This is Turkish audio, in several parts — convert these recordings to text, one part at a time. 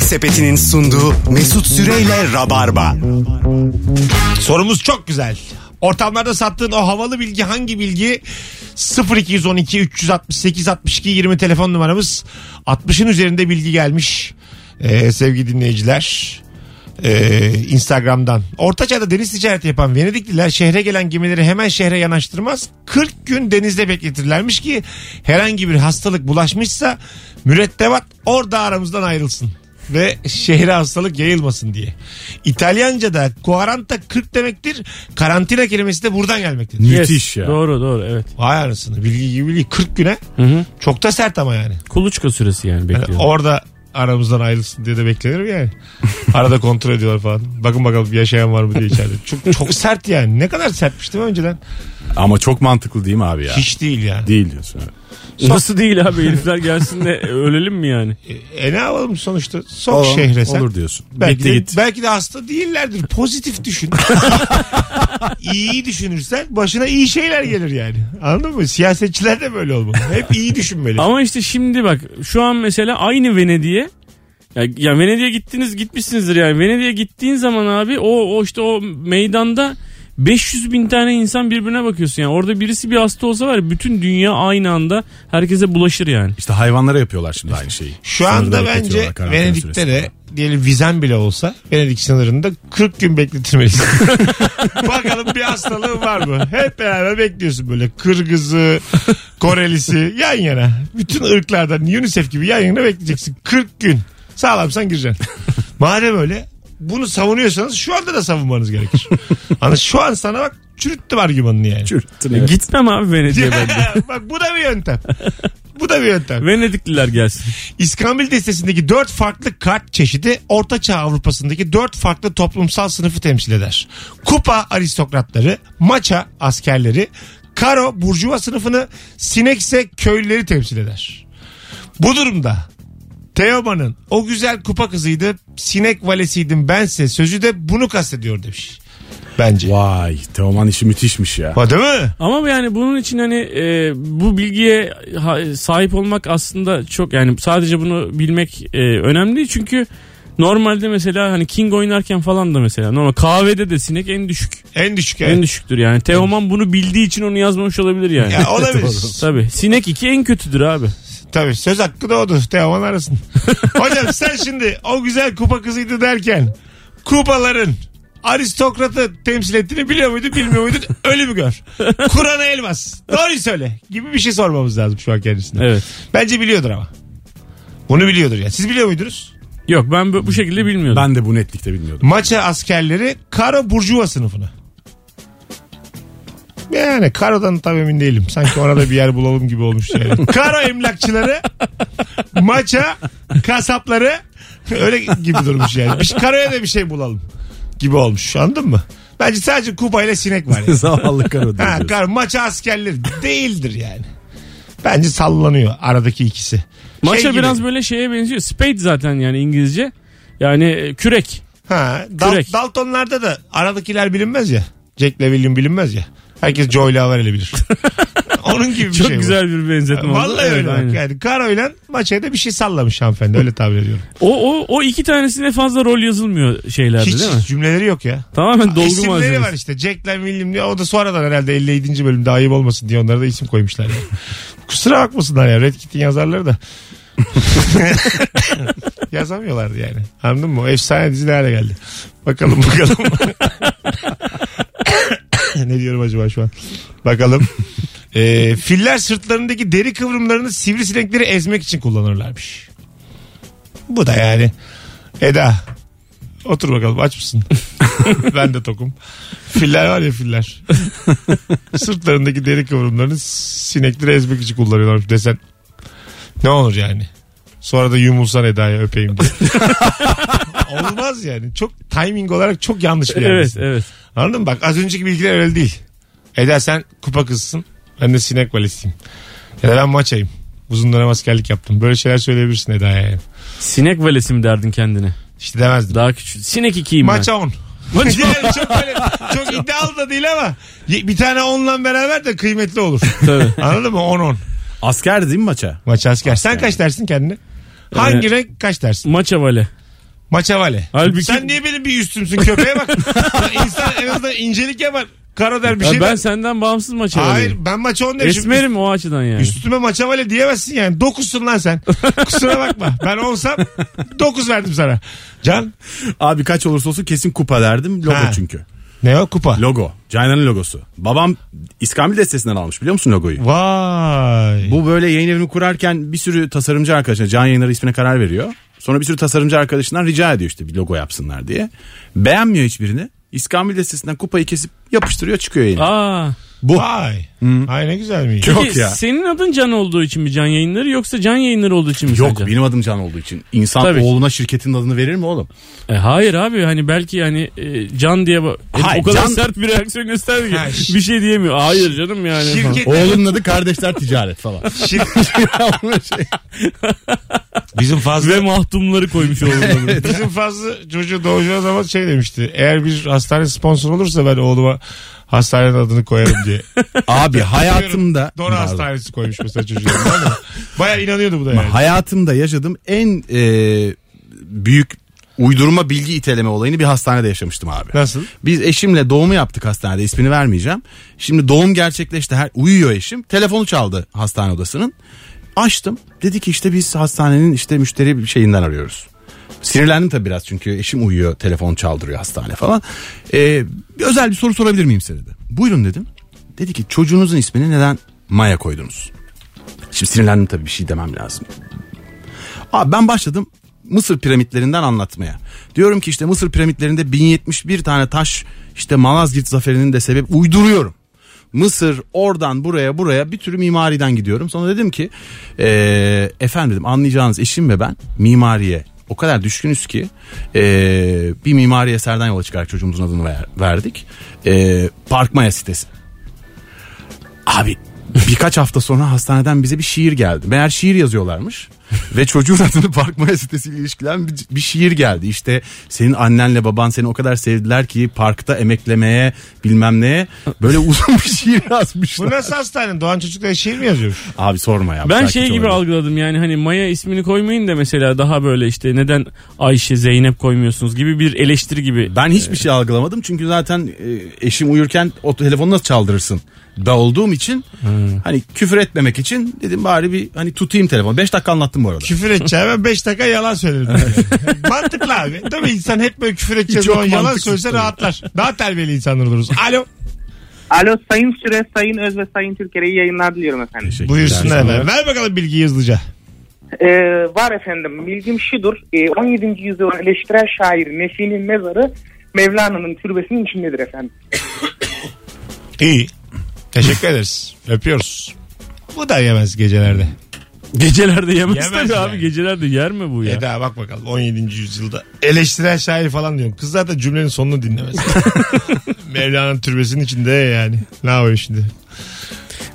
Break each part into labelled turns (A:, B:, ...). A: Sepeti'nin sunduğu Mesut Süreyle Rabarba.
B: Sorumuz çok güzel. Ortamlarda sattığın o havalı bilgi hangi bilgi? 0212 368 62 20 telefon numaramız. 60'ın üzerinde bilgi gelmiş Ee, sevgili dinleyiciler. Ee, Instagram'dan. Ortaçağ'da deniz ticareti yapan Venedikliler şehre gelen gemileri hemen şehre yanaştırmaz. 40 gün denizde bekletirlermiş ki herhangi bir hastalık bulaşmışsa mürettebat orada aramızdan ayrılsın ve şehre hastalık yayılmasın diye. İtalyanca'da kuaranta 40 demektir. Karantina kelimesi de buradan gelmektedir.
C: Yes,
D: Müthiş ya.
C: Doğru doğru evet.
B: Vay anasını bilgi gibi bilgi 40 güne
C: hı.
B: çok da sert ama yani.
C: Kuluçka süresi yani
B: Yani
C: bekliyorum.
B: orada aramızdan ayrılsın diye de beklenir yani. Arada kontrol ediyorlar falan. Bakın bakalım yaşayan var mı diye içeride. Çok, çok sert yani. Ne kadar sertmiş değil mi önceden?
D: Ama çok mantıklı değil mi abi ya?
B: Hiç değil yani.
D: Değil diyorsun. evet.
C: Nasıl değil abi herifler gelsin de ölelim mi yani?
B: E ne yapalım sonuçta? Sok
D: Olur,
B: şehre sen.
D: Olur diyorsun.
B: Belki
D: Bitti
B: de,
D: git.
B: belki de hasta değillerdir. Pozitif düşün. iyi düşünürsen başına iyi şeyler gelir yani. Anladın mı? Siyasetçiler de böyle olmalı. Hep iyi düşünmeli.
C: Ama işte şimdi bak şu an mesela aynı Venedik'e ya, ya Venedik'e gittiniz gitmişsinizdir yani. Venedik'e gittiğin zaman abi o, o işte o meydanda 500 bin tane insan birbirine bakıyorsun yani. Orada birisi bir hasta olsa var ya, bütün dünya aynı anda herkese bulaşır yani.
D: İşte hayvanlara yapıyorlar şimdi aynı şeyi.
B: Şu anda
D: Sınırda
B: bence
D: bekletiyorlar karantina
B: Venedik'te de
D: süresinde.
B: diyelim vizen bile olsa Venedik sınırında 40 gün bekletilmeliyiz. Bakalım bir hastalığın var mı? Hep beraber bekliyorsun böyle. Kırgızı, Korelisi yan yana. Bütün ırklardan UNICEF gibi yan yana bekleyeceksin. 40 gün. Sağlamsan gireceksin. Madem öyle bunu savunuyorsanız şu anda da savunmanız gerekir. Ama şu an sana bak çürüttüm argümanını yani.
D: Çürüttün,
C: E,
D: evet.
C: Gitmem abi Venedik'e ben.
B: bak bu da bir yöntem. Bu da bir yöntem.
C: Venedikliler gelsin.
B: İskambil destesindeki dört farklı kart çeşidi Orta Çağ Avrupa'sındaki dört farklı toplumsal sınıfı temsil eder. Kupa aristokratları, maça askerleri, karo burjuva sınıfını, sinekse köylüleri temsil eder. Bu durumda Teoman'ın o güzel kupa kızıydı, sinek valesiydim bense sözü de bunu kastediyor demiş. Bence.
D: Vay Teoman işi müthişmiş ya.
B: Ha, değil mi?
C: Ama yani bunun için hani e, bu bilgiye ha- sahip olmak aslında çok yani sadece bunu bilmek e, önemli değil. çünkü normalde mesela hani King oynarken falan da mesela normal kahvede de sinek en düşük
B: En düşük.
C: en
B: En
C: düşüktür yani. Teoman bunu bildiği için onu yazmamış olabilir yani.
B: Ya, olabilir.
C: Tabii. Sinek 2 en kötüdür abi.
B: Tabii söz hakkı da odur. Teoman arasın. Hocam sen şimdi o güzel kupa kızıydı derken kupaların aristokratı temsil ettiğini biliyor muydun bilmiyor muydun ölü mü gör. Kur'an'a elmas. Doğruyu söyle gibi bir şey sormamız lazım şu an kendisine.
C: Evet.
B: Bence biliyordur ama. Bunu biliyordur ya. Siz biliyor muydunuz?
C: Yok ben bu, bu şekilde bilmiyordum.
D: Ben de bu netlikte bilmiyordum.
B: Maça askerleri Karo Burjuva sınıfına. Yani Karo'dan tam emin değilim. Sanki orada bir yer bulalım gibi olmuş yani. Karo emlakçıları maça kasapları öyle gibi durmuş yani. Bir, Karo'ya da bir şey bulalım gibi olmuş. Anladın mı? Bence sadece kupayla sinek var. Yani.
D: Zavallı karı
B: Ha,
D: diyorsun.
B: kar, maça askerleri değildir yani. Bence sallanıyor aradaki ikisi. Şey
C: Maça
B: gibi.
C: biraz böyle şeye benziyor. Spade zaten yani İngilizce. Yani e, kürek.
B: Ha, Dal-
C: Kürek.
B: Daltonlarda da aradakiler bilinmez ya. Jack'le William bilinmez ya. Herkes Joy Laver'le bilir. Onun gibi bir
C: Çok
B: şey bu.
C: güzel bir benzetme oldu.
B: Vallahi
C: Evet,
B: öyle bak
C: aynen.
B: yani. Karo'yla maçaya da bir şey sallamış hanımefendi öyle tabir ediyorum.
C: O, o, o iki tanesine fazla rol yazılmıyor şeylerde
B: Hiç
C: değil mi?
B: cümleleri yok ya.
C: Tamamen dolgu
B: İsimleri
C: malzemesi.
B: var işte. Jack'le William diye. O da sonradan herhalde 57. bölümde ayıp olmasın diye onlara da isim koymuşlar. Yani. Kusura bakmasınlar ya. Red Kit'in yazarları da. Yazamıyorlardı yani. Anladın mı? O efsane dizi ne hale geldi. Bakalım bakalım. ne diyorum acaba şu an? Bakalım. Ee, filler sırtlarındaki deri kıvrımlarını sivrisinekleri ezmek için kullanırlarmış. Bu da yani. Eda. Otur bakalım aç mısın? ben de tokum. Filler var ya filler. Sırtlarındaki deri kıvrımlarını sinekleri ezmek için kullanıyorlarmış desen. Ne olur yani. Sonra da yumulsan Eda'ya öpeyim diye. Olmaz yani. Çok timing olarak çok yanlış bir yer.
C: Evet evet.
B: Anladın mı? Bak az önceki bilgiler öyle değil. Eda sen kupa kızsın. Ben de sinek valisiyim. Ya da ben maçayım. Uzun dönem askerlik yaptım. Böyle şeyler söyleyebilirsin Eda'ya yani.
C: Sinek valesi mi derdin kendine?
B: İşte demezdim.
C: Daha küçük. Sinek ikiyim ben.
B: Maça 10. yani çok, böyle, çok iddialı da değil ama ye- bir tane 10'la beraber de kıymetli olur.
C: Tabii.
B: Anladın mı? 10-10.
D: Asker değil mi maça?
B: Maç asker. Sen kaç dersin kendine? Hangi renk kaç dersin?
C: Maça vale.
B: Maça vale.
C: Ee, Halbuki-
B: Sen niye benim bir üstümsün köpeğe bak. Ya İnsan en azından incelik yapar. Kara der bir
C: Ya
B: şey.
C: ben
B: der.
C: senden bağımsız maç
B: Hayır
C: Hayır.
B: ben maça 10 demişim.
C: Esmerim o açıdan yani.
B: Üstüme maça vale diyemezsin yani. Dokuzsun lan sen. Kusura bakma. Ben olsam dokuz verdim sana. Can
D: Abi kaç olursa olsun kesin kupa derdim. Logo
B: Ha.
D: çünkü.
B: ne o kupa?
D: Logo. Caynan'ın logosu. Babam İskambil destesinden almış biliyor musun logoyu?
B: Vay.
D: Bu böyle yayın evini kurarken bir sürü tasarımcı arkadaşına Can Yayınları ismine karar veriyor. Sonra bir sürü tasarımcı arkadaşından rica ediyor işte bir logo yapsınlar diye. Beğenmiyor hiçbirini. İskambil destesinden kupayı kesip yapıştırıyor çıkıyor yayına.
C: Aa.
B: Bu. Vay.
C: Hmm.
B: Ay ne güzel mi?
D: Yok
C: Peki
D: ya.
C: Senin adın Can olduğu için mi Can Yayınları yoksa Can Yayınları olduğu için mi
D: Yok
C: sence?
D: benim adım Can olduğu için. İnsan
C: Tabii.
D: oğluna şirketin adını verir mi oğlum?
C: E, hayır abi hani belki hani e, Can diye ba- E,
D: Hayır,
C: o kadar
D: Can-
C: sert bir reaksiyon gösterdi ki
B: Ha, şi-
C: bir şey diyemiyor. Hayır canım yani.
B: Şirket,
D: Oğlunun adı kardeşler ticaret falan. Şey,
B: şir- bizim fazla
C: Ve mahtumları koymuş oğlum.
B: bizim fazla çocuğu doğacağı zaman şey demişti. Eğer bir hastane sponsor olursa ben oğluma hastanenin adını koyarım diye.
D: Abi hayatımda
B: Dora
D: Pardon.
B: Hastanesi koymuş mesela çocuğa. Anladın mı? Bayağı inanıyordu bu da yani.
D: hayatımda yaşadığım en e, büyük uydurma bilgi iteleme olayını bir hastanede yaşamıştım abi.
B: Nasıl?
D: Biz eşimle doğumu yaptık hastanede ismini vermeyeceğim. Şimdi doğum gerçekleşti her uyuyor eşim. Telefonu çaldı hastane odasının. Açtım. Dedi ki işte biz hastanenin işte müşteri bir şeyinden arıyoruz. Sinirlendim tabii biraz çünkü eşim uyuyor telefon çaldırıyor hastane falan. Ee, bir özel bir soru sorabilir miyim size dedi. Buyurun dedim. Dedi ki çocuğunuzun ismini neden Maya koydunuz? Şimdi sinirlendim tabii bir şey demem lazım. Abi ben başladım Mısır piramitlerinden anlatmaya. Diyorum ki işte Mısır piramitlerinde 1071 tane taş işte Malazgirt zaferinin de sebep uyduruyorum. Mısır oradan buraya buraya bir türlü mimariden gidiyorum. Sonra dedim ki eee efendim dedim, anlayacağınız eşim ve ben mimariye o kadar düşkünüz ki eee, bir mimari eserden yola çıkarak çocuğumuzun adını ver- verdik. Eee Park Maya sitesi. Abi birkaç hafta sonra hastaneden bize bir şiir geldi. Meğer şiir yazıyorlarmış. Ve çocuğun adını Park Maya sitesiyle ilişkilen bir, bir şiir geldi. İşte senin annenle baban seni o kadar sevdiler ki parkta emeklemeye bilmem neye böyle uzun bir şiir
B: Bu
D: yazmışlar.
B: nasıl hastane? Doğan çocuklara şiir mi yazıyormuş?
D: Abi sorma ya.
C: Ben
D: Belki
C: şey
D: çok
C: gibi
D: öyle.
C: algıladım yani hani Maya ismini koymayın da mesela daha böyle işte neden Ayşe Zeynep koymuyorsunuz gibi bir eleştiri gibi.
D: Ben hiçbir şey algılamadım çünkü zaten e, eşim uyurken o telefonu nasıl çaldırırsın? Da olduğum için
C: Hmm.
D: hani küfür etmemek için dedim bari bir hani tutayım telefonu. 5 dakika anlattım bu arada.
B: Küfür edeceğime 5 dakika yalan söylerim. Mantıklı abi. Değil mi? İnsan hep böyle küfür edeceği
D: Çok
B: zaman yalan
D: mantıksız
B: söylese
D: tabii.
B: rahatlar. Daha terbiyeli insanlar oluruz. Alo.
E: Alo Sayın Süre, Sayın Öz ve Sayın Türker'e iyi yayınlar diliyorum efendim.
D: Teşekkürler.
B: Buyursunlar efendim. Ver bakalım bilgiyi hızlıca.
E: Ee, var efendim. Bilgim şudur. Ee, 17. yüzyılın eleştirel şair Nefi'nin mezarı Mevlana'nın türbesinin içindedir efendim.
B: İyi. Teşekkür ederiz. Öpüyoruz. Bu da yemez gecelerde.
C: Gecelerde yemez
B: Yemez
C: tabii abi
B: yani. E
C: gecelerde yer mi bu ya?
B: Eda bak bakalım 17. yüzyılda eleştiren şair falan diyorum. Kız zaten cümlenin sonunu dinlemez. Mevlana'nın türbesinin içinde yani. Ne yapıyor şimdi?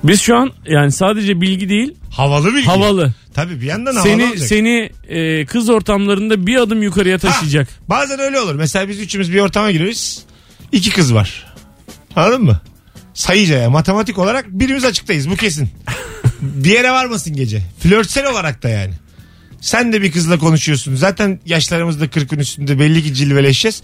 C: Biz şu an yani sadece bilgi değil
B: Havalı bilgi.
C: havalı.
B: Tabii bir yandan havalı
C: Seni
B: olacak.
C: seni e, kız ortamlarında bir adım yukarıya taşıyacak.
B: Bazen öyle olur. Mesela biz üçümüz bir ortama giriyoruz. İki kız var. Anladın mı? Sayıca ya matematik olarak birimiz açıktayız bu kesin. Diğere varmasın gece. Flörtsel olarak da yani. Sen de bir kızla konuşuyorsun. Zaten yaşlarımız da 40'ın üstünde belli ki cilveleşeceğiz.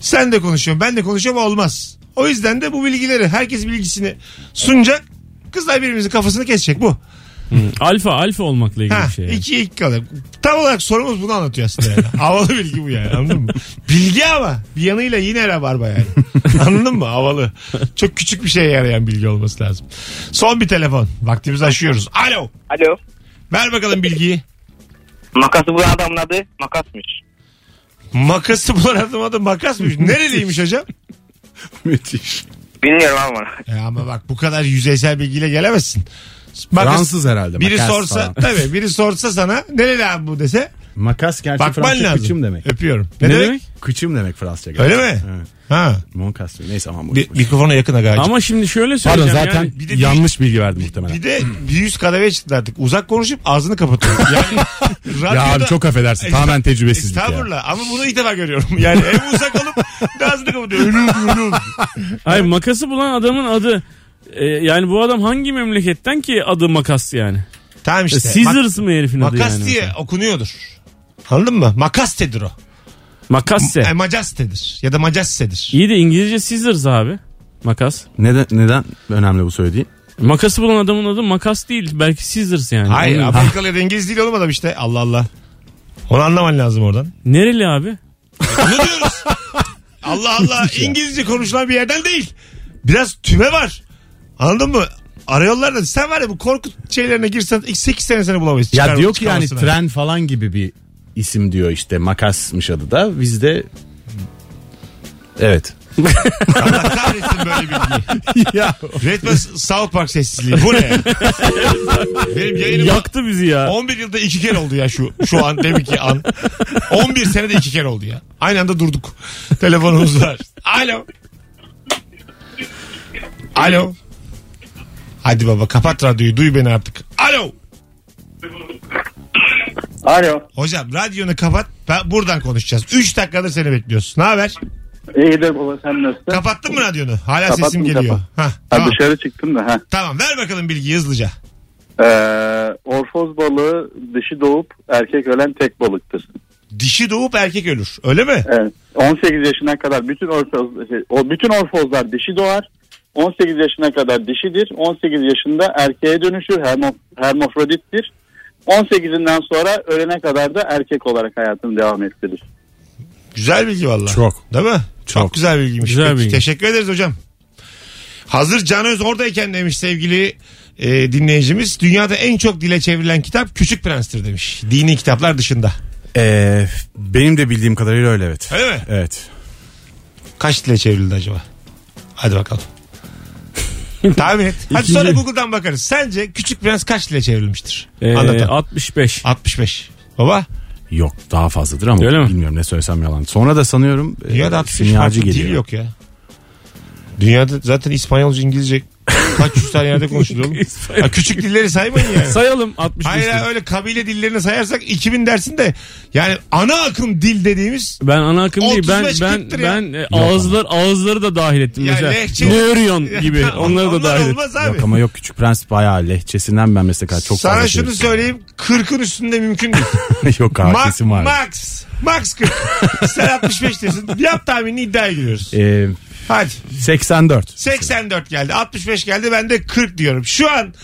B: Sen de konuşuyorsun ben de konuşuyorum olmaz. O yüzden de bu bilgileri herkes bilgisini sunacak. Kızlar birbirimizin kafasını kesecek bu.
C: Alfa alfa olmakla ilgili
B: Ha,
C: bir şey. yani.
B: ikiye iki kalır. Tam olarak sorumuz bunu anlatıyor aslında yani. Havalı bilgi bu yani anladın mı? Bilgi ama bir yanıyla yine rabarba yani. anladın mı? Havalı. Çok küçük bir şeye yarayan bilgi olması lazım. Son bir telefon. Vaktimizi aşıyoruz. Alo.
E: Alo.
B: Ver bakalım bilgiyi.
E: Makası bu adamın adı makasmış.
B: Makası bulan adam adı makasmış. Nereliymiş hocam?
D: Müthiş.
E: Bilmiyorum ama.
B: E ama bak bu kadar yüzeysel bilgiyle gelemezsin. Makas-
D: Fransız herhalde.
B: Biri
D: makas
B: sorsa
D: falan.
B: tabii biri sorsa sana nereli abi bu dese
D: Makas gerçi
B: bakman
D: Fransızca
B: lazım.
D: kıçım demek.
B: Öpüyorum.
C: Ne,
B: Ne,
C: demek?
B: demek?
D: Kıçım demek Fransızca.
B: Öyle
D: gerçi.
B: mi?
D: Evet.
B: Ha.
D: Monkas diyor. Neyse aman bu.
B: Bir, mikrofona yakın aga.
C: Ama şimdi şöyle
D: Pardon
C: söyleyeceğim
D: zaten
C: yani.
B: Bir de-
D: yanlış bilgi verdim muhtemelen.
B: Bir de bir yüz kademeye çıktı artık. Uzak konuşup ağzını kapatıyor. Yani
D: ya abi
B: radyoda-
D: çok affedersin. Tamamen tecrübesizlik ya.
B: Estağfurullah ama bunu ilk defa görüyorum. Yani hem uzak olup da ağzını kapatıyor. Ölüm ölüm.
C: Hayır makası bulan adamın adı e, yani bu adam hangi memleketten ki adı makas yani?
B: Tamam işte.
C: Caesars mı herifin
B: Mak-
C: adı yani?
B: makas diye okunuyordur. Anladın mı? Makastedir o.
C: Makasse.
B: E, Macasse'dir ya da Macasse'dir.
C: İyi de İngilizce scissors abi. Makas.
D: Neden, neden önemli bu söylediği?
C: Makası bulan adamın adı makas değil. Belki scissors yani.
B: Hayır
C: Onun-
B: Amerikalı ya da İngiliz değil oğlum adam işte. Allah Allah. Onu anlaman lazım oradan.
C: Nereli abi?
B: Ne diyoruz? Allah Allah
D: şey.
B: İngilizce konuşulan bir yerden değil. Biraz tüme var. Anladın mı? Arıyorlar da sen var ya bu korku şeylerine girsen ilk 8 sene seni bulamayız.
D: Ya
B: Çıkar-
D: diyor ki yani
B: çıkamazsın abi.
D: tren falan gibi bir isim diyor işte makasmış adı da bizde Evet.
B: Allah kahretsin böyle bilgiyi.
D: ya
B: Resmen South Park sessizliği. Bu ne? Benim yayınım
C: Yaktı bizi ya.
B: 11 yılda iki kere oldu ya şu şu an demek ki an. 11 senede iki kere oldu ya. Aynı anda durduk. Telefonumuz var. Alo. Alo. Hadi baba kapat radyoyu duy beni artık. Alo.
E: Alo.
B: Hocam radyonu kapat ben buradan konuşacağız. 3 dakikadır seni bekliyoruz. Ne haber?
E: İyidir baba sen nasılsın?
B: Kapattın mı radyonu? Hala
E: Kapattım,
B: sesim geliyor.
E: kapattım.
B: Hah,
E: Ha,
B: tamam.
E: Dışarı çıktım da. Ha.
B: tamam ver bakalım bilgiyi hızlıca.
E: Ee, orfoz balığı dişi doğup erkek ölen tek balıktır.
B: Dişi doğup erkek ölür öyle mi?
E: Evet. 18 yaşına kadar bütün orfoz, şey, o bütün orfozlar dişi doğar. 18 yaşına kadar dişidir. 18 yaşında erkeğe dönüşür. Hermo, hermafrodittir. 18'inden sonra ölene kadar da erkek olarak hayatını devam ettirir.
B: Güzel bilgi valla.
D: Çok.
B: Değil mi? Çok,
D: Çok.
B: güzel bilgiymiş.
C: Güzel
B: Peki,
C: bilgi.
B: Teşekkür ederiz hocam. Hazır Can Öz oradayken demiş sevgili e, dinleyicimiz. Dünyada en çok dile çevrilen kitap Küçük Prens'tir demiş. Dini kitaplar dışında.
D: Ee, benim de bildiğim kadarıyla öyle evet.
B: Öyle mi?
D: Evet.
B: Kaç dile çevrildi acaba? Hadi bakalım. Tahmin et. Hadi
C: İkinci-
B: sonra Google'dan bakarız. Sence Küçük Prens kaç dile çevrilmiştir?
C: Ee,
B: Anlatan.
C: 65.
B: 65. Baba
D: Yok daha fazladır ama
C: Öyle mi?
D: bilmiyorum ne söylesem yalan. Sonra da sanıyorum e,
B: dünyada 65
D: sinyalci
B: farklı dil yok ya. Dünyada zaten İspanyolca, İngilizce kaç yüz tane yerde konuşuluyor oğlum. Ya küçük dilleri saymayın yani.
C: Sayalım 65.
B: Hayır hayır, öyle kabile dillerini sayarsak 2000 dersin de yani ana akım dil dediğimiz
C: Ben ana akım değil. Ben
B: 35
C: ben
B: kırktır ya.
C: ben e, ağızlar ağızları da dahil ettim
B: Ya
C: mesela.
B: lehçe-
C: Nörion gibi. Onları da
B: Onlar
C: dahil ettim.
B: olmaz abi.
D: Yok ama yok Küçük Prens bayağı lehçesinden ben mesela çok
B: Sana
D: fazla
B: şunu
D: şey-
B: söyleyeyim 40'ın üstünde mümkün değil.
D: yok abi
B: Ma-
D: kesin var.
B: Max. Max 40. Sen 65 diyorsun. Yap tahminini iddiaya giriyoruz.
D: Ee,
B: Hadi.
D: 84.
B: 84 geldi. 65 geldi. Ben de 40 diyorum. Şu an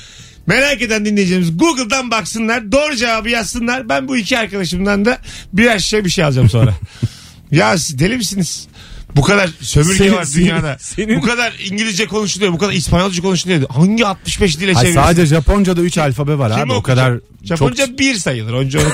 B: merak eden dinleyeceğimiz Google'dan baksınlar. Doğru cevabı yazsınlar. Ben bu iki arkadaşımdan da birer şişe bir şey alacağım sonra. ya siz deli misiniz? Bu kadar sömürge
C: Senin-
B: var dünyada.
C: senin- senin-
B: Bu kadar İngilizce konuşuluyor. Bu kadar İspanyolca konuşuluyor. Hangi 65 dile
D: Ay,
B: çevirirsin?
D: sadece Japonca'da 3 alfabe var
B: Kim
D: abi o
B: okuyacak?
D: kadar
B: Japonca
D: çok...
B: bir sayılır. Önce onu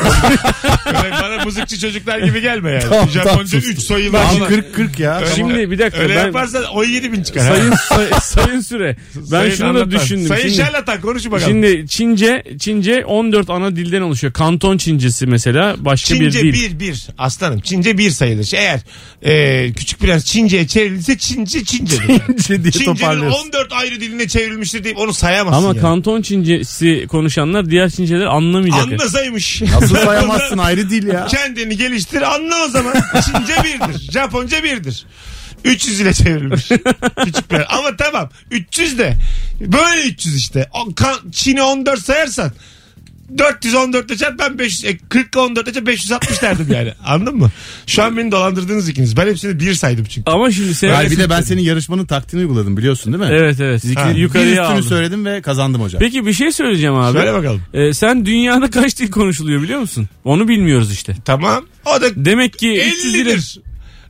B: Öyle bana mızıkçı çocuklar gibi gelme yani.
D: Tamam, tamam,
B: Japonca
D: sustum.
B: 3 sayılır.
D: Tamam,
B: Ama-
D: 40 40 ya.
B: Öyle-
D: Tamam.
C: Şimdi bir dakika,
B: Öyle
C: ben-
B: yaparsan 17 bin çıkar. ha.
C: Sayın say- sayın süre. Ben
B: Sayın
C: şunu da
B: anlatan.
C: düşündüm.
B: Sayın
C: Şimdi-
B: şarlatan konuş bakalım.
C: Şimdi Çince Çince 14 ana dilden oluşuyor. Kanton Çincesi mesela başka
B: Çince
C: bir dil.
B: bir, bir aslanım. Çince bir sayılır. Şey, Eğer e, küçük prens Çince'ye çevrilirse Çince Çince'dir. Yani.
D: Çince diye
B: Çince'nin
D: toparlıyoruz.
B: 14 ayrı diline çevrilmiştir deyip onu sayamazsın
C: Ama
B: yani.
C: Kanton Çincesi konuşanlar diğer Çinceleri anlamayacak.
B: Anlasaymış.
D: Nasıl sayamazsın ayrı değil ya.
B: Kendini geliştir anla o zaman. Çince birdir. Japonca birdir. 300 ile çevrilmiş. Küçük prens. Ama tamam 300 de. Böyle 300 işte. O, kan, Çin'i 14 sayarsan 414 ile çarp ben 500, e, 40 ile 14 ile çarp 560 derdim yani. Anladın mı? Şu an beni dolandırdınız ikiniz. Ben hepsini bir saydım çünkü.
C: Ama şimdi sen
D: Yani bir de ben senin yarışmanın taktiğini uyguladım biliyorsun değil mi?
C: Evet evet.
D: Siz
C: Ha.
D: ikiniz- bir üstünü
C: Yukarıya aldım.
D: söyledim ve kazandım hocam.
C: Peki bir şey söyleyeceğim abi.
B: Söyle bakalım.
C: Ee, sen dünyada kaç dil konuşuluyor biliyor musun? Onu bilmiyoruz işte.
B: Tamam. O da
C: Demek ki 300 dile,
B: 50'dir.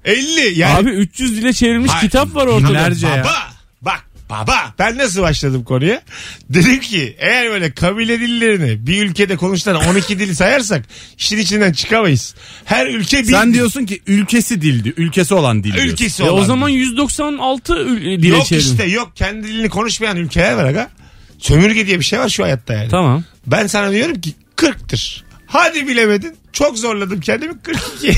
B: 50 yani.
C: abi 300 dile çevrilmiş
B: Hayır,
C: kitap var ortada.
D: binlerce ya.
B: Baba bak baba ben nasıl başladım konuya? Dedim ki eğer böyle kabile dillerini bir ülkede konuşulan 12 dil sayarsak işin içinden çıkamayız. Her ülke bir
D: Sen
B: dil-
D: diyorsun ki ülkesi dildi. Ülkesi olan dil diyorsun.
B: ülkesi
C: E
B: olan.
C: o zaman 196 ül- dile
B: yok
C: çevrilmiş.
B: işte yok kendi dilini konuşmayan ülkeler var aga. Sömürge diye bir şey var şu hayatta yani.
C: Tamam.
B: Ben sana diyorum ki 40'tır. Hadi bilemedin. Çok zorladım kendimi 42.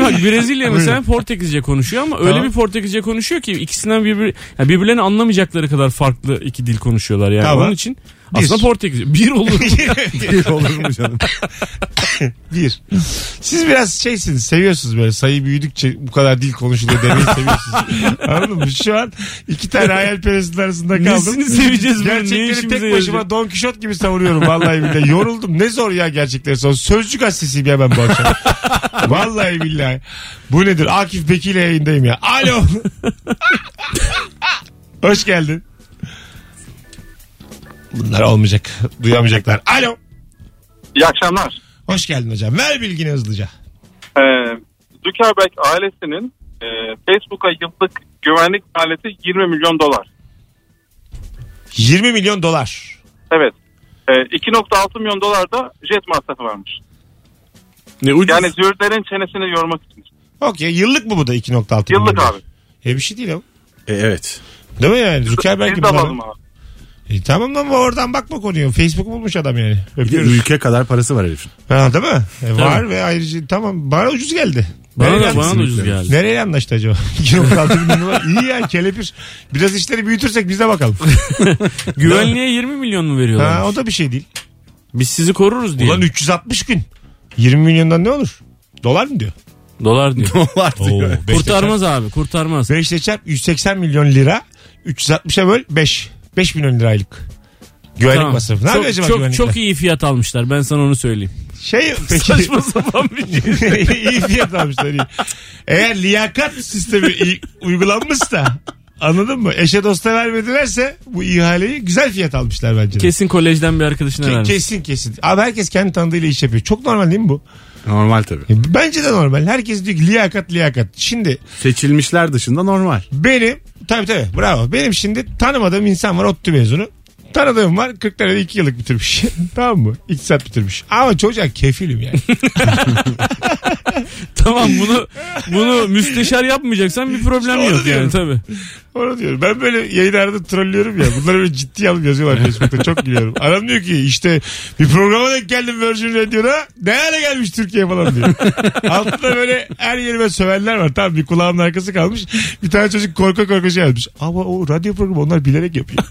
C: bak Brezilya mesela Portekizce konuşuyor ama öyle
B: Tamam.
C: bir Portekizce konuşuyor ki ikisinden birbir, yani birbirlerini anlamayacakları kadar farklı iki dil konuşuyorlar yani
B: Tamam.
C: onun için. Aslında Portekiz. Bir olur.
D: Olur mu canım?
B: Bir. Siz biraz şeysiniz seviyorsunuz böyle sayı büyüdükçe bu kadar dil konuşuluyor demeyi seviyorsunuz. Anladın mı? Şu an iki tane hayalperestin arasında kaldım.
C: Nesini seveceğiz böyle? Ne
B: Gerçekleri
C: işimize
B: tek
C: yarayacak?
B: başıma Don Kişot gibi savuruyorum vallahi billahi. Yoruldum. Ne zor ya gerçekleri son. Sözcü gazetesiyim ya ben bu akşam. vallahi billahi. Bu nedir? Akif Bekir'le yayındayım ya. Alo. Hoş geldin. Bunlar olmayacak. Duyamayacaklar. Alo.
E: İyi akşamlar.
B: Hoş geldin hocam. Ver bilgini hızlıca.
E: Ee, Zuckerberg ailesinin e, Facebook'a yıllık güvenlik maliyeti 20 milyon dolar.
B: 20 milyon dolar.
E: Evet. Ee, 2.6 milyon dolar da jet masrafı varmış.
C: ne ucuz.
E: Yani zürdelerin çenesini yormak için.
B: Okey yıllık mı bu da 2.6 milyon
E: Yıllık
B: dolar?
E: abi.
B: E bir şey değil o.
D: E, evet.
B: Değil mi yani? Zuckerberg
E: Biz
B: gibi.
E: de
B: adam.
E: alalım abi.
B: E, tamam lan oradan bakma konuyu. Facebook bulmuş adam yani.
D: Bir de
B: Öpüyoruz.
D: ülke kadar parası var herifin.
B: Ha, değil mi? E, var ve ayrıca tamam bana ucuz geldi.
C: Bana
B: Nereye
C: da, bana da ucuz
D: kesinlikle.
C: geldi.
B: Nereye anlaştı acaba? 2.6 milyon dolar. İyi ya kelepir. Biraz işleri büyütürsek biz de bakalım.
C: Güvenliğe 20 milyon mu veriyorlar?
B: ha, o da bir şey değil.
C: Biz sizi koruruz diye.
B: Ulan 360 gün. 20 milyondan ne olur? Dolar mı diyor?
C: Dolar diyor.
D: Dolar diyor.
B: Beşte
C: kurtarmaz abi kurtarmaz.
B: 5 ile çarp 180 milyon lira. 360'a böl 5. 5 milyon liraylık. Güvenlik
C: Tamam.
B: masrafı. Ne yapıyor
C: çok,
B: acaba
C: çok,
B: güvenlikler?
C: çok iyi fiyat almışlar ben sana onu söyleyeyim.
B: Şey peki.
C: Saçma sapan bir şey.
B: iyi fiyat almışlar iyi. Eğer liyakat sistemi iyi uygulanmışsa anladın mı? Eşe dosta vermedilerse bu ihaleyi güzel fiyat almışlar bence. de.
C: Kesin kolejden bir arkadaşına
B: Ke-
C: vermiş.
B: kesin kesin. Abi herkes kendi tanıdığıyla iş yapıyor. Çok normal değil mi bu? E,
D: Normal tabii.
B: Bence de normal. Herkes diyor ki liyakat liyakat. Şimdi
D: Seçilmişler dışında normal.
B: Benim tabii tabii bravo. Benim şimdi tanımadığım insan var ODTÜ mezunu. Tanıdığım var 40 lirada 2 yıllık bitirmiş. tamam mı? İktisat bitirmiş. Ama çocuğa kefilim yani.
C: Tamam bunu bunu müsteşar yapmayacaksan bir problem
B: onu
C: yok
B: diyorum.
C: yani tabii.
B: Onu diyorum. Ben böyle yayınlarda trollüyorum ya. Bunları böyle ciddi alıp yazıyorlar Facebook'ta. Çok gülüyorum. Adam diyor ki işte bir programa denk geldim Virgin Radio'da. Ne hale gelmiş Türkiye falan diyor. Altında böyle her yerime sövenler var. Tamam bir kulağımın arkası kalmış. Bir tane çocuk korka korka şey yapmış. Ama o radyo programı onlar bilerek yapıyor.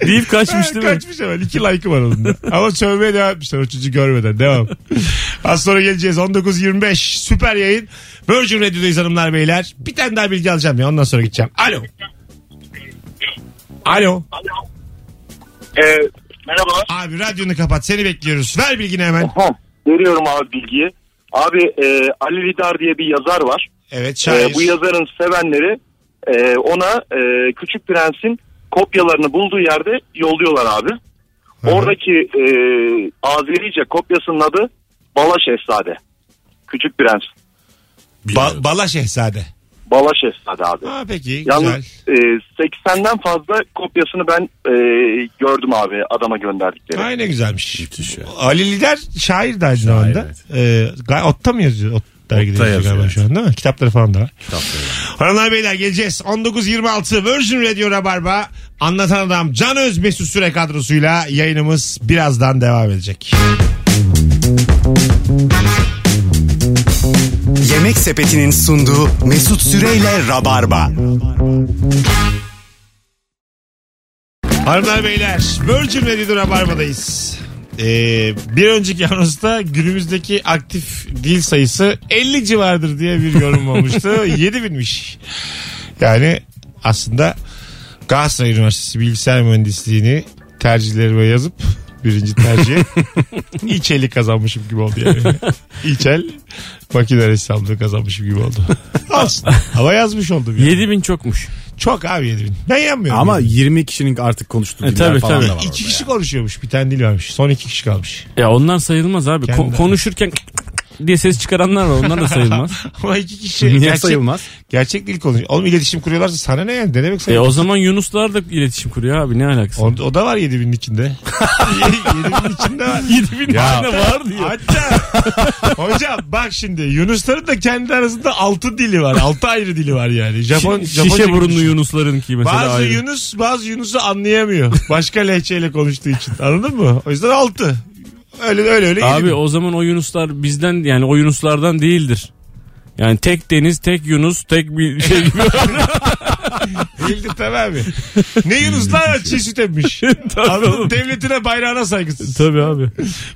C: Deyip kaçmış değil mi?
B: Kaçmış hemen. İki like'ı var onun da. Ama sövmeye devam etmişler o çocuğu görmeden. Devam. Az sonra geleceğiz. 19.25 süper yayın. Virgin Radio'dayız hanımlar beyler. Bir tane daha bilgi alacağım ya ondan sonra gideceğim. Alo. Alo.
E: Ee, merhabalar.
B: Abi radyonu kapat seni bekliyoruz. Ver bilgini hemen.
E: Ha, veriyorum abi bilgiyi. Abi e, Ali Lidar diye bir yazar var.
B: Evet
E: E,
B: şair.
E: bu yazarın sevenleri e, ona e, Küçük Prens'in kopyalarını bulduğu yerde yolluyorlar abi.
B: Hı hı.
E: Oradaki e, Azerice kopyasının adı Bala Şehzade. Küçük Prens.
B: Ba- Bala Şehzade.
E: Bala Şehzade abi.
B: Ha peki güzel.
E: Yalnız e, 80'den fazla kopyasını ben e, gördüm abi adama gönderdikleri.
B: Ay ne güzelmiş.
D: Müthiş ya.
B: Ali Lider şair de aynı zamanda.
D: evet.
B: Ee, gay- Ot'ta mı yazıyor? Ot dergide yazıyor
D: yazıyor,
B: galiba
D: evet.
B: şu an değil mi? Kitapları falan da var. Hanımlar beyler geleceğiz. 19.26 Virgin Radio Rabarba. Anlatan Adam Can Öz Mesut Süre kadrosuyla yayınımız birazdan devam edecek.
A: Yemek Sepeti'nin sunduğu Mesut Süreyle Rabarba.
B: Hanımlar beyler Virgin Radio Rabarba'dayız. Ee, bir önceki anonsta günümüzdeki aktif dil sayısı 50 civardır diye bir yorum olmuştu. 7 binmiş. Yani aslında Galatasaray Üniversitesi Bilgisayar Mühendisliğini tercihlerime yazıp birinci tercihe İçeli kazanmışım gibi oldu yani. İçel makine ressamlığı kazanmışım gibi oldu. Olsun. Ama yazmış oldum yani.
C: 7000 çokmuş.
B: Çok abi 7000. Ben yanmıyorum.
D: Ama
B: yani.
D: 20 kişinin artık konuştuğu
C: E,
D: diller
C: tabii,
D: falan
C: tabii.
D: da var.
B: İki kişi konuşuyormuş. Bir tane dil varmış. Son iki kişi kalmış.
C: Ya onlar sayılmaz abi. Ko-
B: Kendi-
C: konuşurken diye ses çıkaranlar var. Onlar da sayılmaz.
B: Ama iki kişi
D: Niye
B: gerçek,
D: sayılmaz?
B: gerçek dil konuşuyor. Oğlum iletişim kuruyorlarsa sana ne yani? Ne demek
C: e
B: sayılmaz?
C: o zaman Yunuslar da iletişim kuruyor abi ne alakası?
B: o, o da var 7000'in içinde. 7000'in içinde var.
C: 7000 tane var
B: Hatta hocam bak şimdi Yunusların da kendi arasında altı dili var. Altı ayrı dili var yani. Japon,
C: Şi-
B: Japonca
C: şişe burunlu
B: konuşuyor.
C: Yunusların ki mesela
B: Bazı
C: ayrı.
B: Yunus bazı Yunus'u anlayamıyor. Başka lehçeyle konuştuğu için. Anladın mı? O yüzden altı. Öyle öyle öyle.
C: Abi
B: yedi bin.
C: o zaman o Yunuslar bizden yani o Yunuslardan değildir. Yani tek deniz, tek Yunus, tek bir şey gibi.
B: Değildir tabii abi. Ne Yunuslar çeşit etmiş. Anladın? Devletine bayrağına saygısız.
C: Tabii abi.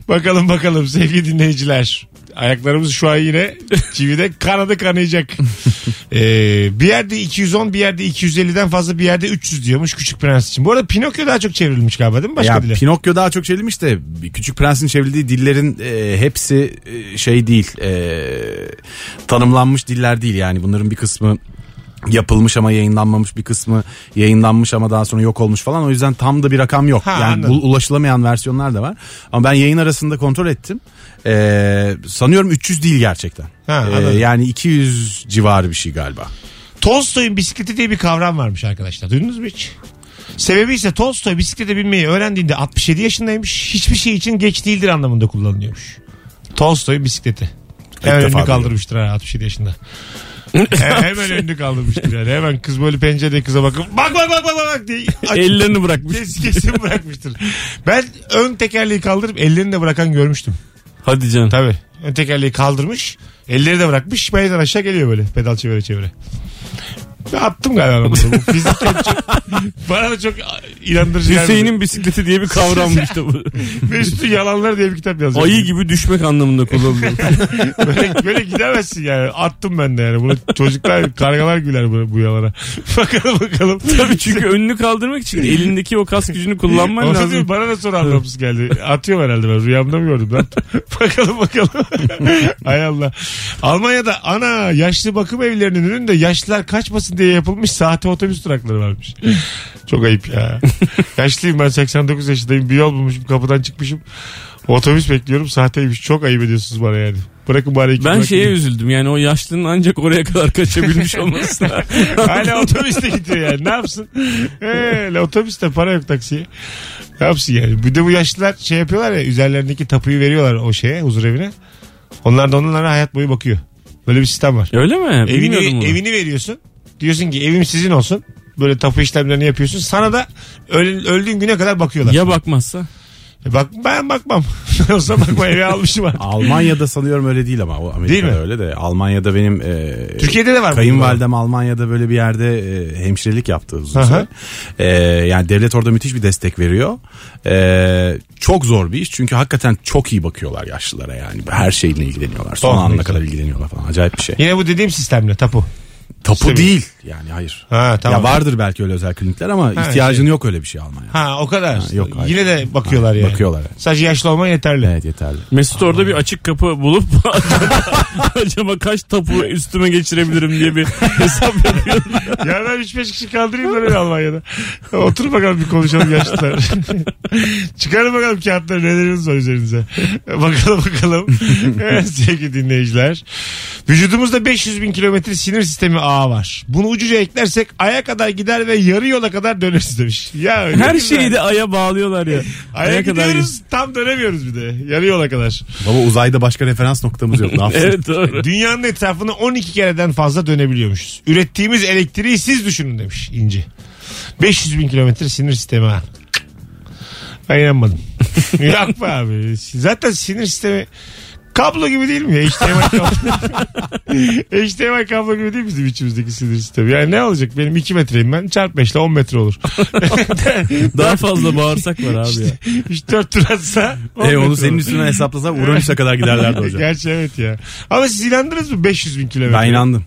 B: Bakalım bakalım sevgili dinleyiciler. Ayaklarımız şu an yine çivide kanadı kanayacak. Ee, bir yerde 210 bir yerde 250'den fazla bir yerde 300 diyormuş Küçük Prens için. Bu arada Pinokyo daha çok çevrilmiş galiba değil mi başka
D: ya
B: dile?
D: Pinokyo daha çok çevrilmiş de Küçük Prens'in çevrildiği dillerin e, hepsi e, şey değil. e, tanımlanmış diller değil yani bunların bir kısmı yapılmış ama yayınlanmamış bir kısmı yayınlanmış ama daha sonra yok olmuş falan o yüzden tam da bir rakam yok
B: Ha,
D: yani
B: anladım.
D: bu- ulaşılamayan versiyonlar da var ama ben yayın arasında kontrol ettim E, sanıyorum 300 değil gerçekten
B: Ha,
D: E,
B: anladım. yani
D: yani 200 civarı bir şey galiba
B: Tolstoy'un bisikleti diye bir kavram varmış arkadaşlar. Duydunuz mu hiç? Sebebi ise Tolstoy bisiklete binmeyi öğrendiğinde 67 yaşındaymış. Hiçbir şey için geç değildir anlamında kullanılıyormuş. Tolstoy bisikleti. Hemen
D: defa
B: önünü
D: duydum.
B: kaldırmıştır ha 67 yaşında. He- hemen önünü kaldırmıştır yani. Hemen kız böyle pencerede kıza bakıp bak bak bak bak bak, bak diye açıp
C: Ellerini bırakmış.
B: kes- kesin bırakmıştır. Ben ön tekerleği kaldırıp ellerini de bırakan görmüştüm.
C: Hadi canım.
B: Tabii. Ön tekerleği kaldırmış. Elleri de bırakmış. Meydan aşağı geliyor böyle. Pedal çevire çevire. Ben attım galiba bunu. Bu fizik de çok, bana da çok inandırıcı gelmedi.
C: Hüseyin'in bisikleti diye bir kavrammış işte bu.
B: Mesut'un yalanları diye bir kitap yazıyor.
C: Ayı gibi düşmek anlamında kullanılıyor.
B: Böyle, böyle gidemezsin yani. Attım ben de yani. Bunu çocuklar, kargalar güler bu, bu yalana. bakalım bakalım.
C: Tabii çünkü önünü kaldırmak için elindeki o kas gücünü kullanman
B: Onu
C: lazım.
B: diyor, Bana da sonra anlamsız geldi. Atıyorum herhalde ben. Rüyamda mı gördüm lan? bakalım bakalım. Hay Allah. Almanya'da ana yaşlı bakım evlerinin önünde yaşlılar kaçmasın diye yapılmış sahte otobüs durakları varmış. Çok ayıp ya. Yaşlıyım ben 89 yaşındayım. Bir yol bulmuşum kapıdan çıkmışım. Otobüs bekliyorum sahteymiş. Çok ayıp ediyorsunuz bana yani. Bırakın bari iki
C: Ben
B: durak
C: şeye
B: gideyim.
C: üzüldüm yani o yaşlının ancak oraya kadar kaçabilmiş olmasına.
B: Hala otobüste gidiyor yani. Ne yapsın? Ee, otobüste para yok taksiye. Ne yapsın yani? Bir de bu yaşlılar şey yapıyorlar ya üzerlerindeki tapuyu veriyorlar o şeye huzur evine. Onlar da onlara hayat boyu bakıyor. Böyle bir sistem var.
C: Öyle mi?
B: Evini,
C: Bilmiyordum bunu.
B: evini veriyorsun. Diyorsun ki evim sizin olsun. Böyle tapu işlemlerini yapıyorsun. Sana da öl- öldüğün güne kadar bakıyorlar.
C: Ya bakmazsa?
B: E Bak, ben bakmam. Olsa bakma eve almışım artık.
D: Almanya'da sanıyorum öyle değil ama o Amerika'da
B: Değil mi?
D: öyle de Almanya'da benim e,
B: Türkiye'de de var. bu.
D: Kayınvalidem Almanya'da böyle bir yerde e, hemşirelik yaptı uzun
B: Aha.
D: süre. E, yani devlet orada müthiş bir destek veriyor. E, çok zor bir iş çünkü hakikaten çok iyi bakıyorlar yaşlılara yani. Her şeyle ilgileniyorlar. Son
B: Oh, ne
D: anına
B: güzel.
D: kadar ilgileniyorlar falan. Acayip bir şey.
B: Yine bu dediğim sistemle tapu.
D: Tapu
B: İşte bir-
D: değil yani hayır.
B: Ha tamam.
D: Ya vardır belki öyle özel klinikler ama ihtiyacın yok öyle bir şey Almanya'da.
B: Ha o kadar.
D: Ha, yok, hayır.
B: Yine de bakıyorlar
D: Ha,
B: yani.
D: bakıyorlar yani.
B: Sadece yaşlı olman yeterli.
D: Evet yeterli.
C: Mesut orada bir açık kapı bulup acaba, acaba kaç tapu üstüme geçirebilirim diye bir hesap yapıyor.
B: Ya ben 3-5 kişi kaldırayım da beni Almanya'da. Otur bakalım bir konuşalım yaşlılar. Çıkarın bakalım kağıtları neleriniz var üzerinize. bakalım bakalım. Evet, Sevgili dinleyiciler. Vücudumuzda 500 bin kilometre sinir sistemi ağı var. Bunu ucuca eklersek aya kadar gider ve yarı yola kadar döneriz demiş. Ya öyle
C: Her
B: değil mi?
C: şeyi de aya bağlıyorlar ya.
B: Aya, gidiyoruz tam dönemiyoruz bir de. Yarı yola kadar.
D: Baba uzayda başka referans noktamız yok. Ne yapsın?
C: Evet doğru.
B: Dünyanın etrafını 12 kereden fazla dönebiliyormuşuz. Ürettiğimiz elektriği siz düşünün demiş İnci. 500 bin kilometre sinir sistemi ha. Ben inanmadım. Yok be abi. Zaten sinir sistemi kablo gibi değil mi ya? HDMI kablo. HDMI kablo gibi değil mi bizim içimizdeki sinir sistemi? Yani ne olacak? Benim 2 metreyim ben. Çarp 5 ile 10 metre olur.
C: Daha fazla bağırsak var abi ya.
B: 3-4 tur atsa 10
D: E,
B: metre
D: onu
B: olur.
D: senin üstüne hesaplasa Uranüs'e kadar giderlerdi hocam.
B: Gerçi evet ya. Ama siz inandınız mı 500 bin kilometre?
D: Ben inandım.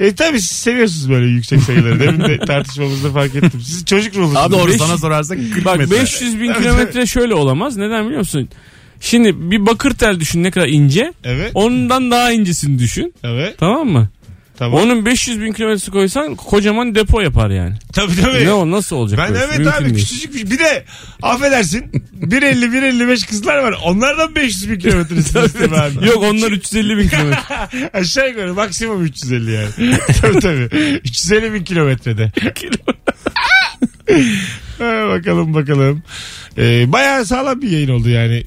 B: E tabii siz seviyorsunuz böyle yüksek sayıları. Demin de tartışmamızda fark ettim. Siz çocuk ruhlusunuz.
D: Abi
C: doğru,
D: doğru
C: sana
D: sana sorarsak 40
C: Bak 500 bin kilometre şöyle olamaz. Neden biliyor musun? Şimdi bir bakır tel düşün ne kadar ince.
B: Evet.
C: Ondan daha incesini düşün.
B: Evet.
C: Tamam mı?
B: Tamam.
C: Onun 500 bin kilometresi koysan kocaman depo yapar yani.
B: Tabii tabii.
C: Ne o nasıl olacak?
B: Ben
C: böyle?
B: evet
C: Mümkün
B: abi
C: değil.
B: küçücük bir, bir de affedersin 1.50 1.55 kızlar var. Onlardan 500 bin kilometre sistemi abi.
C: Yok onlar 350 bin kilometre.
B: Aşağı yukarı maksimum 350 yani. tabii tabii. 350 bin kilometrede. ha, bakalım bakalım. Ee, bayağı sağlam bir yayın oldu yani.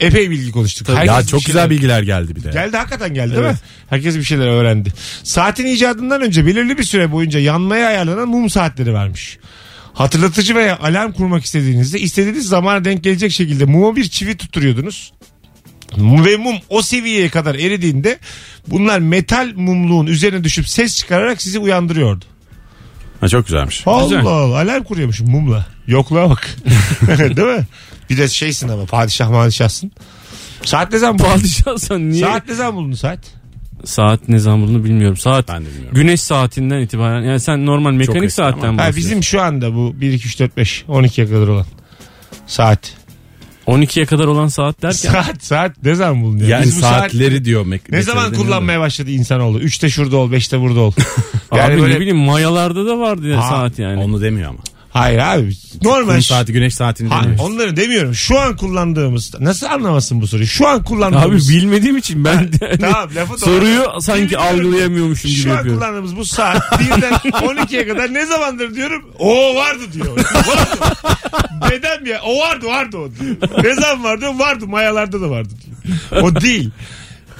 B: Epey bilgi konuştuk. Herkes
D: Ya
B: bir şey
D: çok
B: şeyler-
D: güzel bilgiler geldi bir de.
B: Geldi hakikaten geldi değil mi? Herkes bir şeyler öğrendi. Saatin icadından önce belirli bir süre boyunca yanmaya ayarlanan mum saatleri varmış. Hatırlatıcı veya alarm kurmak istediğinizde istediğiniz zamana denk gelecek şekilde muma bir çivi tutturuyordunuz. Mum Ve mum o seviyeye kadar eridiğinde bunlar metal mumluğun üzerine düşüp ses çıkararak sizi uyandırıyordu.
D: Ha, çok güzelmiş.
B: Allah
C: Güzel.
B: Allah alarm kuruyormuşum mumla. Yokluğa bak. Değil mi? Bir de şeysin ama padişah madişahsın. Saat ne zaman buldun?
C: Padişahsan niye? Saat,
B: Saat ne zaman buldun saat?
C: ne zaman bulunduğunu bilmiyorum. Saat
D: Ben de bilmiyorum.
C: güneş saatinden itibaren. Yani sen normal
D: Çok
C: mekanik
D: eski
C: saatten
D: ama.
B: Ha,
C: bahsediyorsun.
B: bizim şu anda bu 1, 2, 3, 4, 5, 12'ye kadar olan saat.
C: 12'ye kadar olan saat derken.
B: Saat saat ne zaman bulunuyor?
D: Yani
B: Biz bu saat-
D: saatleri diyor. Mek-
B: Ne zaman kullanmaya başladı insanoğlu? Üçte şurada ol, beşte burada ol.
C: abi
B: yani
C: ne
B: böyle...
C: bileyim mayalarda da vardı ya
B: Ha,
C: saat yani.
D: Onu demiyor ama.
B: Hayır abi.
D: Kum
B: Normal.
D: saati güneş saatini
B: Ha,
D: demiyor.
B: onları demiyorum. Şu an kullandığımız. Nasıl anlamasın bu soruyu? Şu an
C: Abi
B: kullandığımız.
C: bilmediğim için ben yani
B: Tamam, lafı doğru.
C: soruyu sanki
B: Bilmiyorum.
C: algılayamıyormuşum gibi
B: Şu an
C: yapıyorum.
B: kullandığımız bu saat 1'den 12'ye kadar ne zamandır diyorum. O vardı diyor. Vardı. Dedem ya o vardı vardı o diyor. Ne zaman vardı vardı mayalarda da vardı diyor. O değil.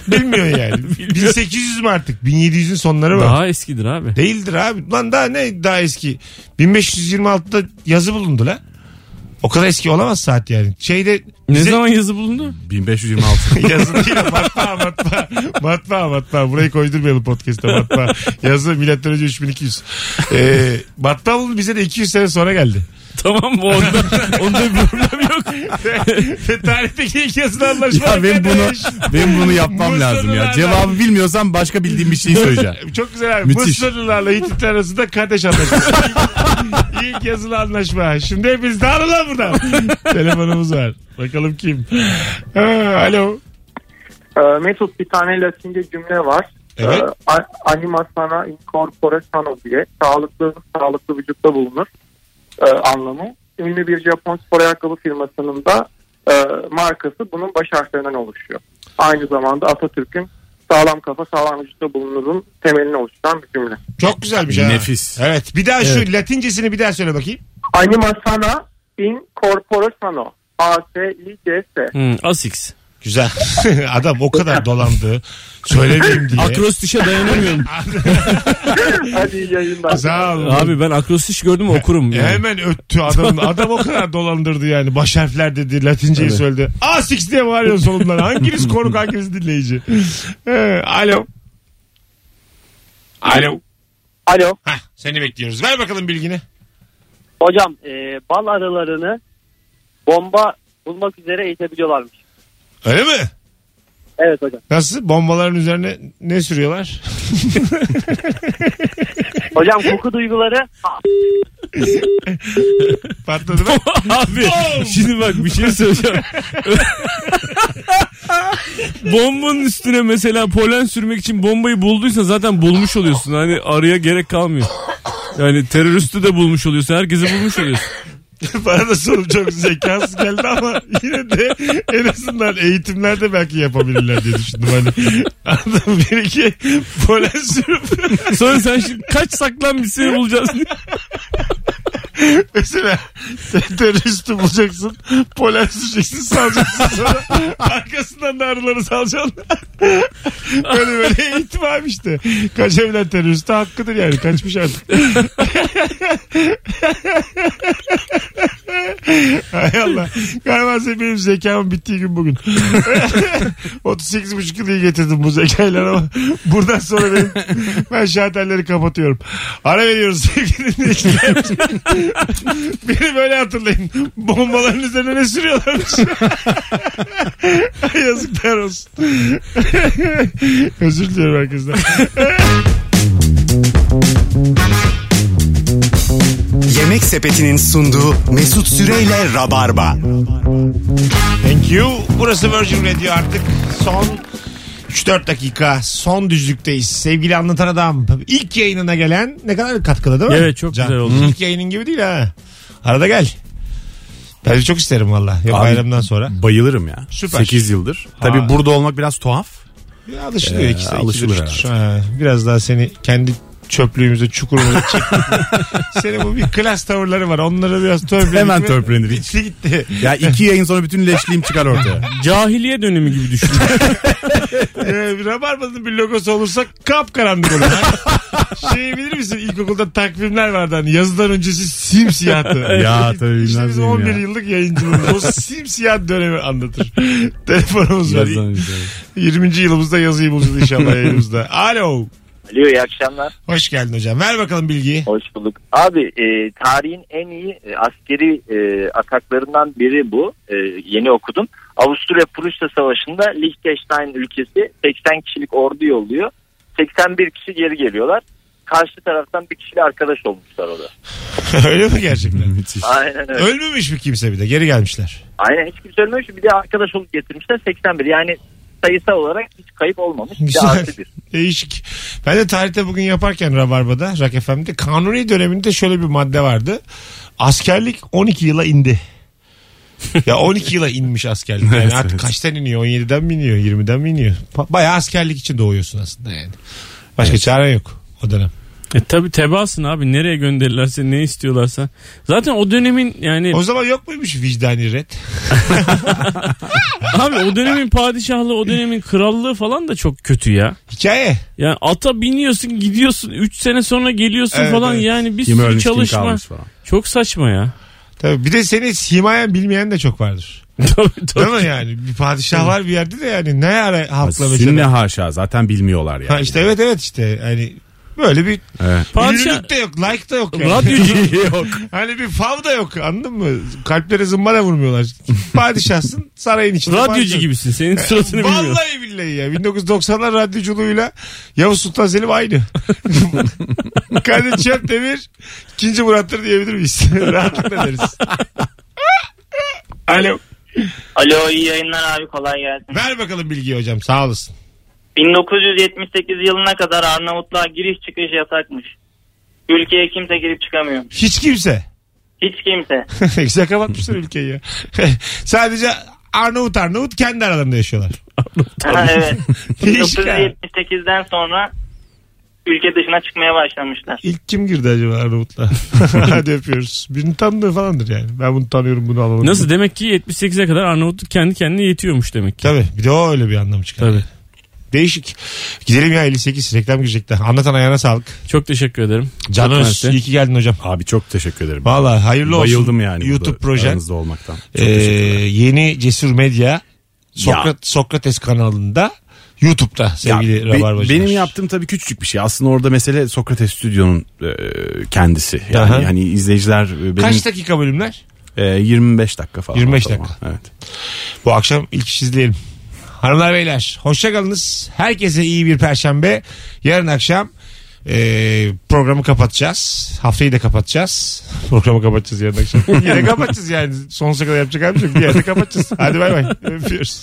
B: Bilmiyor yani. 1800 mü artık? 1700'ün sonları mı?
C: Daha eskidir abi.
B: Değildir abi. Lan daha ne daha eski? 1526'da yazı bulundu la. O kadar eski olamaz saat yani. Şeyde
C: Ne
B: bize-
C: zaman yazı bulundu?
D: 1526.
B: Yazı değil matbaa matbaa. Matbaa matbaa. Burayı koydurmayalım podcast'ta matbaa. Yazı milattan önce 3200. Ee, matbaa bulundu bize de 200 sene sonra geldi.
C: tamam bu onda, onda bir problem yok.
B: Ve Tarihteki ilk yazılı anlaşma.
D: ya ben bunu ben bunu yapmam lazım ya.
B: Mısırlılardan-
D: Cevabı bilmiyorsam başka bildiğim bir şey söyleyeceğim.
B: Çok güzel abi.
D: Müthiş.
B: Mısırlılarla Hititler arasında kardeş anlaşması. İlk- İlk yazılı anlaşma. Şimdi hepiniz dağılın buradan. Telefonumuz var. Bakalım kim? Ha, alo.
F: Ee, Mesut bir tane latince cümle var.
B: Evet.
F: Ee, a- anima sana incorpore sano diye sağlıklı sağlıklı vücutta bulunur ee, anlamı. Ünlü bir Japon spor ayakkabı firmasının da e, markası bunun baş harflerinden oluşuyor. Aynı zamanda Atatürk'ün sağlam kafa sağlam vücutta bulunurun temelini oluşturan bir cümle.
B: Çok güzelmiş ha.
D: Nefis.
B: Evet. Bir daha şu latincesini bir daha söyle bakayım.
F: Anima sana incorpore sano. A S I C S.
C: Hmm, Asics.
B: Güzel. Adam o kadar dolandı. Söylemeyeyim diye.
C: Akrostişe dayanamıyorum.
F: Hadi iyi yayınlar.
B: Sağ olun.
C: abi ben akrostiş gördüm okurum.
B: E,
C: Yani.
B: Hemen öttü adam. Adam o kadar dolandırdı yani. Baş harfler dedi. Latinceyi söyledi. A6 diye bağırıyor solumdan. Hanginiz konuk hanginiz dinleyici. Ee, alo. Alo.
G: Alo.
B: Hah, seni bekliyoruz. Ver bakalım bilgini.
G: Hocam e, bal arılarını bomba bulmak üzere eğitebiliyorlarmış.
B: Öyle mi?
G: Evet hocam.
B: Nasıl? Bombaların üzerine ne sürüyorlar?
G: Hocam koku duyguları
B: Patladı mı?
C: abi
B: Bom!
C: şimdi bak bir şey söyleyeceğim. Bombanın üstüne mesela polen sürmek için bombayı bulduysan zaten bulmuş oluyorsun. Hani araya gerek kalmıyor. Yani teröristi de bulmuş oluyorsun. Herkesi bulmuş oluyorsun.
B: Bana da sorum çok zekasız geldi ama yine de en azından eğitimlerde belki yapabilirler diye düşündüm. Hani adam bir iki polen sürüp
C: Sonra sen şimdi kaç saklan bir seni bulacağız diye.
B: Mesela sen teröristi bulacaksın. Polen süreceksin salacaksın sonra. Arkasından da arıları salacaksın. böyle böyle eğitim abi işte. Kaçabilen terörist de hakkıdır yani. Kaçmış artık. Hay Allah. Galiba sen benim zekamın bittiği gün bugün. 38,5 yıl iyi getirdim bu zekayla ama buradan sonra benim, ben şartelleri kapatıyorum. Ara veriyoruz sevgili dinleyiciler. Beni böyle hatırlayın. Bombaların üzerine ne sürüyorlarmış? Yazıklar olsun. Özür diliyorum herkesten.
A: Yemek Sepeti'nin sunduğu Mesut Süreyle Rabarba.
B: Thank you. Burası Virgin Radio artık son 3-4 dakika son düzlükteyiz. Sevgili anlatan adam ilk yayınına gelen ne kadar katkıda değil mi?
C: Evet, çok güzel oldu.
B: İlk yayının gibi değil ha. Arada gel. Ben de çok isterim valla. Yok
D: Abi-
B: bayramdan sonra.
D: Bayılırım ya.
B: Süper.
D: 8 yıldır. Tabii burada olmak biraz tuhaf.
B: Ya Alışılıyor ikisi. de,
D: Ee, alışılır
B: ikisi de üçtür. Ha, biraz daha seni kendi çöplüğümüze çukurumuza çektik. Senin bu bir klas tavırları var. Onları biraz törpüledik.
D: Hemen
B: ve
D: törpülenir hiç.
B: Gitti gitti.
D: Ya iki yayın sonra bütün leşliğim çıkar ortaya.
C: Cahiliye dönemi gibi düşün.
B: Ee, Rabarba'nın bir logosu olursa kapkaranlık olur. Hani şey bilir misin? İlkokulda takvimler vardı hani yazıdan öncesi simsiyahtı.
D: Ya tabii
B: İşte
D: bilmez
B: biz
D: miyim
B: 11
D: ya.
B: yıllık yayıncılığımız. O simsiyah dönemi anlatır. Telefonumuz var.
D: Yazdan önce.
B: 20. yılımızda yazıyı bulacağız inşallah yayınımızda. Alo.
H: Alo iyi akşamlar.
B: Hoş geldin hocam. Ver bakalım bilgiyi.
H: Hoş bulduk. Abi e, tarihin en iyi e, askeri e, ataklarından biri bu. E, yeni okudum. Avusturya Prusya Savaşı'nda Liechtenstein ülkesi 80 kişilik ordu yolluyor. 81 kişi geri geliyorlar. Karşı taraftan bir kişiyle arkadaş olmuşlar orada.
B: Öyle mi gerçekten?
D: Müthiş.
H: Aynen öyle.
B: Ölmemiş mi kimse bir de? Geri gelmişler.
H: Aynen hiç kimse ölmemiş. Bir de arkadaş olup getirmişler 81. Yani sayısal olarak hiç kayıp olmamış. Bir de
B: Güzel.
H: artı bir.
B: Değişik. Ben de tarihte bugün yaparken Rabarba'da, Rock FM'de kanuni döneminde şöyle bir madde vardı. Askerlik 12 yıla indi. ya 12 yıla inmiş askerlik. Yani
D: Evet,
B: artık
D: evet.
B: kaçtan iniyor? 17'den mi iniyor? 20'den mi iniyor? Pa- Bayağı askerlik için doğuyorsun aslında yani. Başka çaren yok o dönem.
C: E tabi tebaasın abi nereye gönderirlerse ne istiyorlarsa. Zaten o dönemin yani
B: O zaman yok muymuş vicdani red?
C: abi o dönemin padişahlığı o dönemin krallığı falan da çok kötü ya.
B: Hikaye.
C: Yani ata biniyorsun gidiyorsun 3 sene sonra geliyorsun
B: Evet,
C: falan
B: evet.
C: yani bir
D: Kim
C: sürü
D: ölmüş kim
C: çalışma.
D: kalmış falan.
C: Çok saçma ya.
B: Tabii bir de seni simayen bilmeyen de çok vardır.
C: tabii tabii.
B: Değil mi yani? Bir padişah var bir yerde de yani ne ara halkla
D: Sünne
B: mesela.
D: haşa zaten bilmiyorlar yani.
B: Ha işte evet evet işte yani böyle bir
D: Evet.
C: Padişah
B: Ünlülük de yok, like da yok. Yani.
C: radyocu
D: Yok.
B: hani bir fav da yok anladın mı? Kalplere zımbara vurmuyorlar. Padişahsın sarayın içinde.
C: radyocu
B: padişah.
C: gibisin. Senin suratını bilmiyorum.
B: Vallahi billahi ya 1990'lar radyoculuğuyla Yavuz Sultan Selim aynı. Kadir Çöpdemir ikinci Murat'tır diyebilir miyiz? Rahatlıkla deriz. Alo.
G: Alo iyi yayınlar abi kolay gelsin.
B: Ver bakalım bilgiyi hocam sağ olasın.
G: 1978 yılına kadar Arnavutluğa giriş çıkış yasakmış. Ülkeye kimse girip çıkamıyor.
B: Hiç kimse.
G: Hiç kimse.
B: Güzel kapatmışlar ülkeyi ya. Sadece Arnavut Arnavut kendi aralarında yaşıyorlar.
G: Ha, evet.
B: Değişik ha.
G: 1978'den sonra ülke dışına çıkmaya başlamışlar.
B: İlk kim girdi acaba Arnavut'la? Hadi öpüyoruz. Birini tanıdığı falandır yani. Ben bunu tanıyorum bunu alalım.
C: Nasıl demek ki 78'e kadar Arnavutluk kendi kendine yetiyormuş demek ki.
B: Tabii. Bir de o öyle bir anlam çıkar.
C: Tabii.
B: Değişik. Gidelim ya 58 reklam girecek de. Anlatan ayağına sağlık.
C: Çok teşekkür ederim. Çok
B: Canım
C: mersi.
B: iyi ki geldin hocam.
D: Abi çok teşekkür ederim.
B: Valla hayırlı olsun.
D: Bayıldım yani.
B: YouTube
D: burada
B: projen.
D: Aranızda olmaktan. Çok
B: Ee,
D: teşekkür ederim.
B: yeni Cesur Medya Sokrat, Sokrates kanalında YouTube'da sevgili
D: Ya, be-
B: Rabarbacılar.
D: Benim yaptığım tabii küçücük bir şey. Aslında orada mesele Sokrates Stüdyo'nun e, kendisi. Yani
B: Aha.
D: hani izleyiciler e, benim
B: Kaç dakika bölümler?
D: e, 25 dakika falan.
B: 25
D: ortalama.
B: dakika.
D: Evet.
B: Bu akşam ilk iş izleyelim. Hanımlar beyler hoşçakalınız. Herkese iyi bir perşembe. Yarın akşam e, programı kapatacağız. Haftayı da kapatacağız. Programı kapatacağız yarın akşam. Yine kapatacağız yani. Sonsuza kadar yapacak halimiz yok. Bir yerde kapatacağız. Hadi bay bay. Öpüyoruz.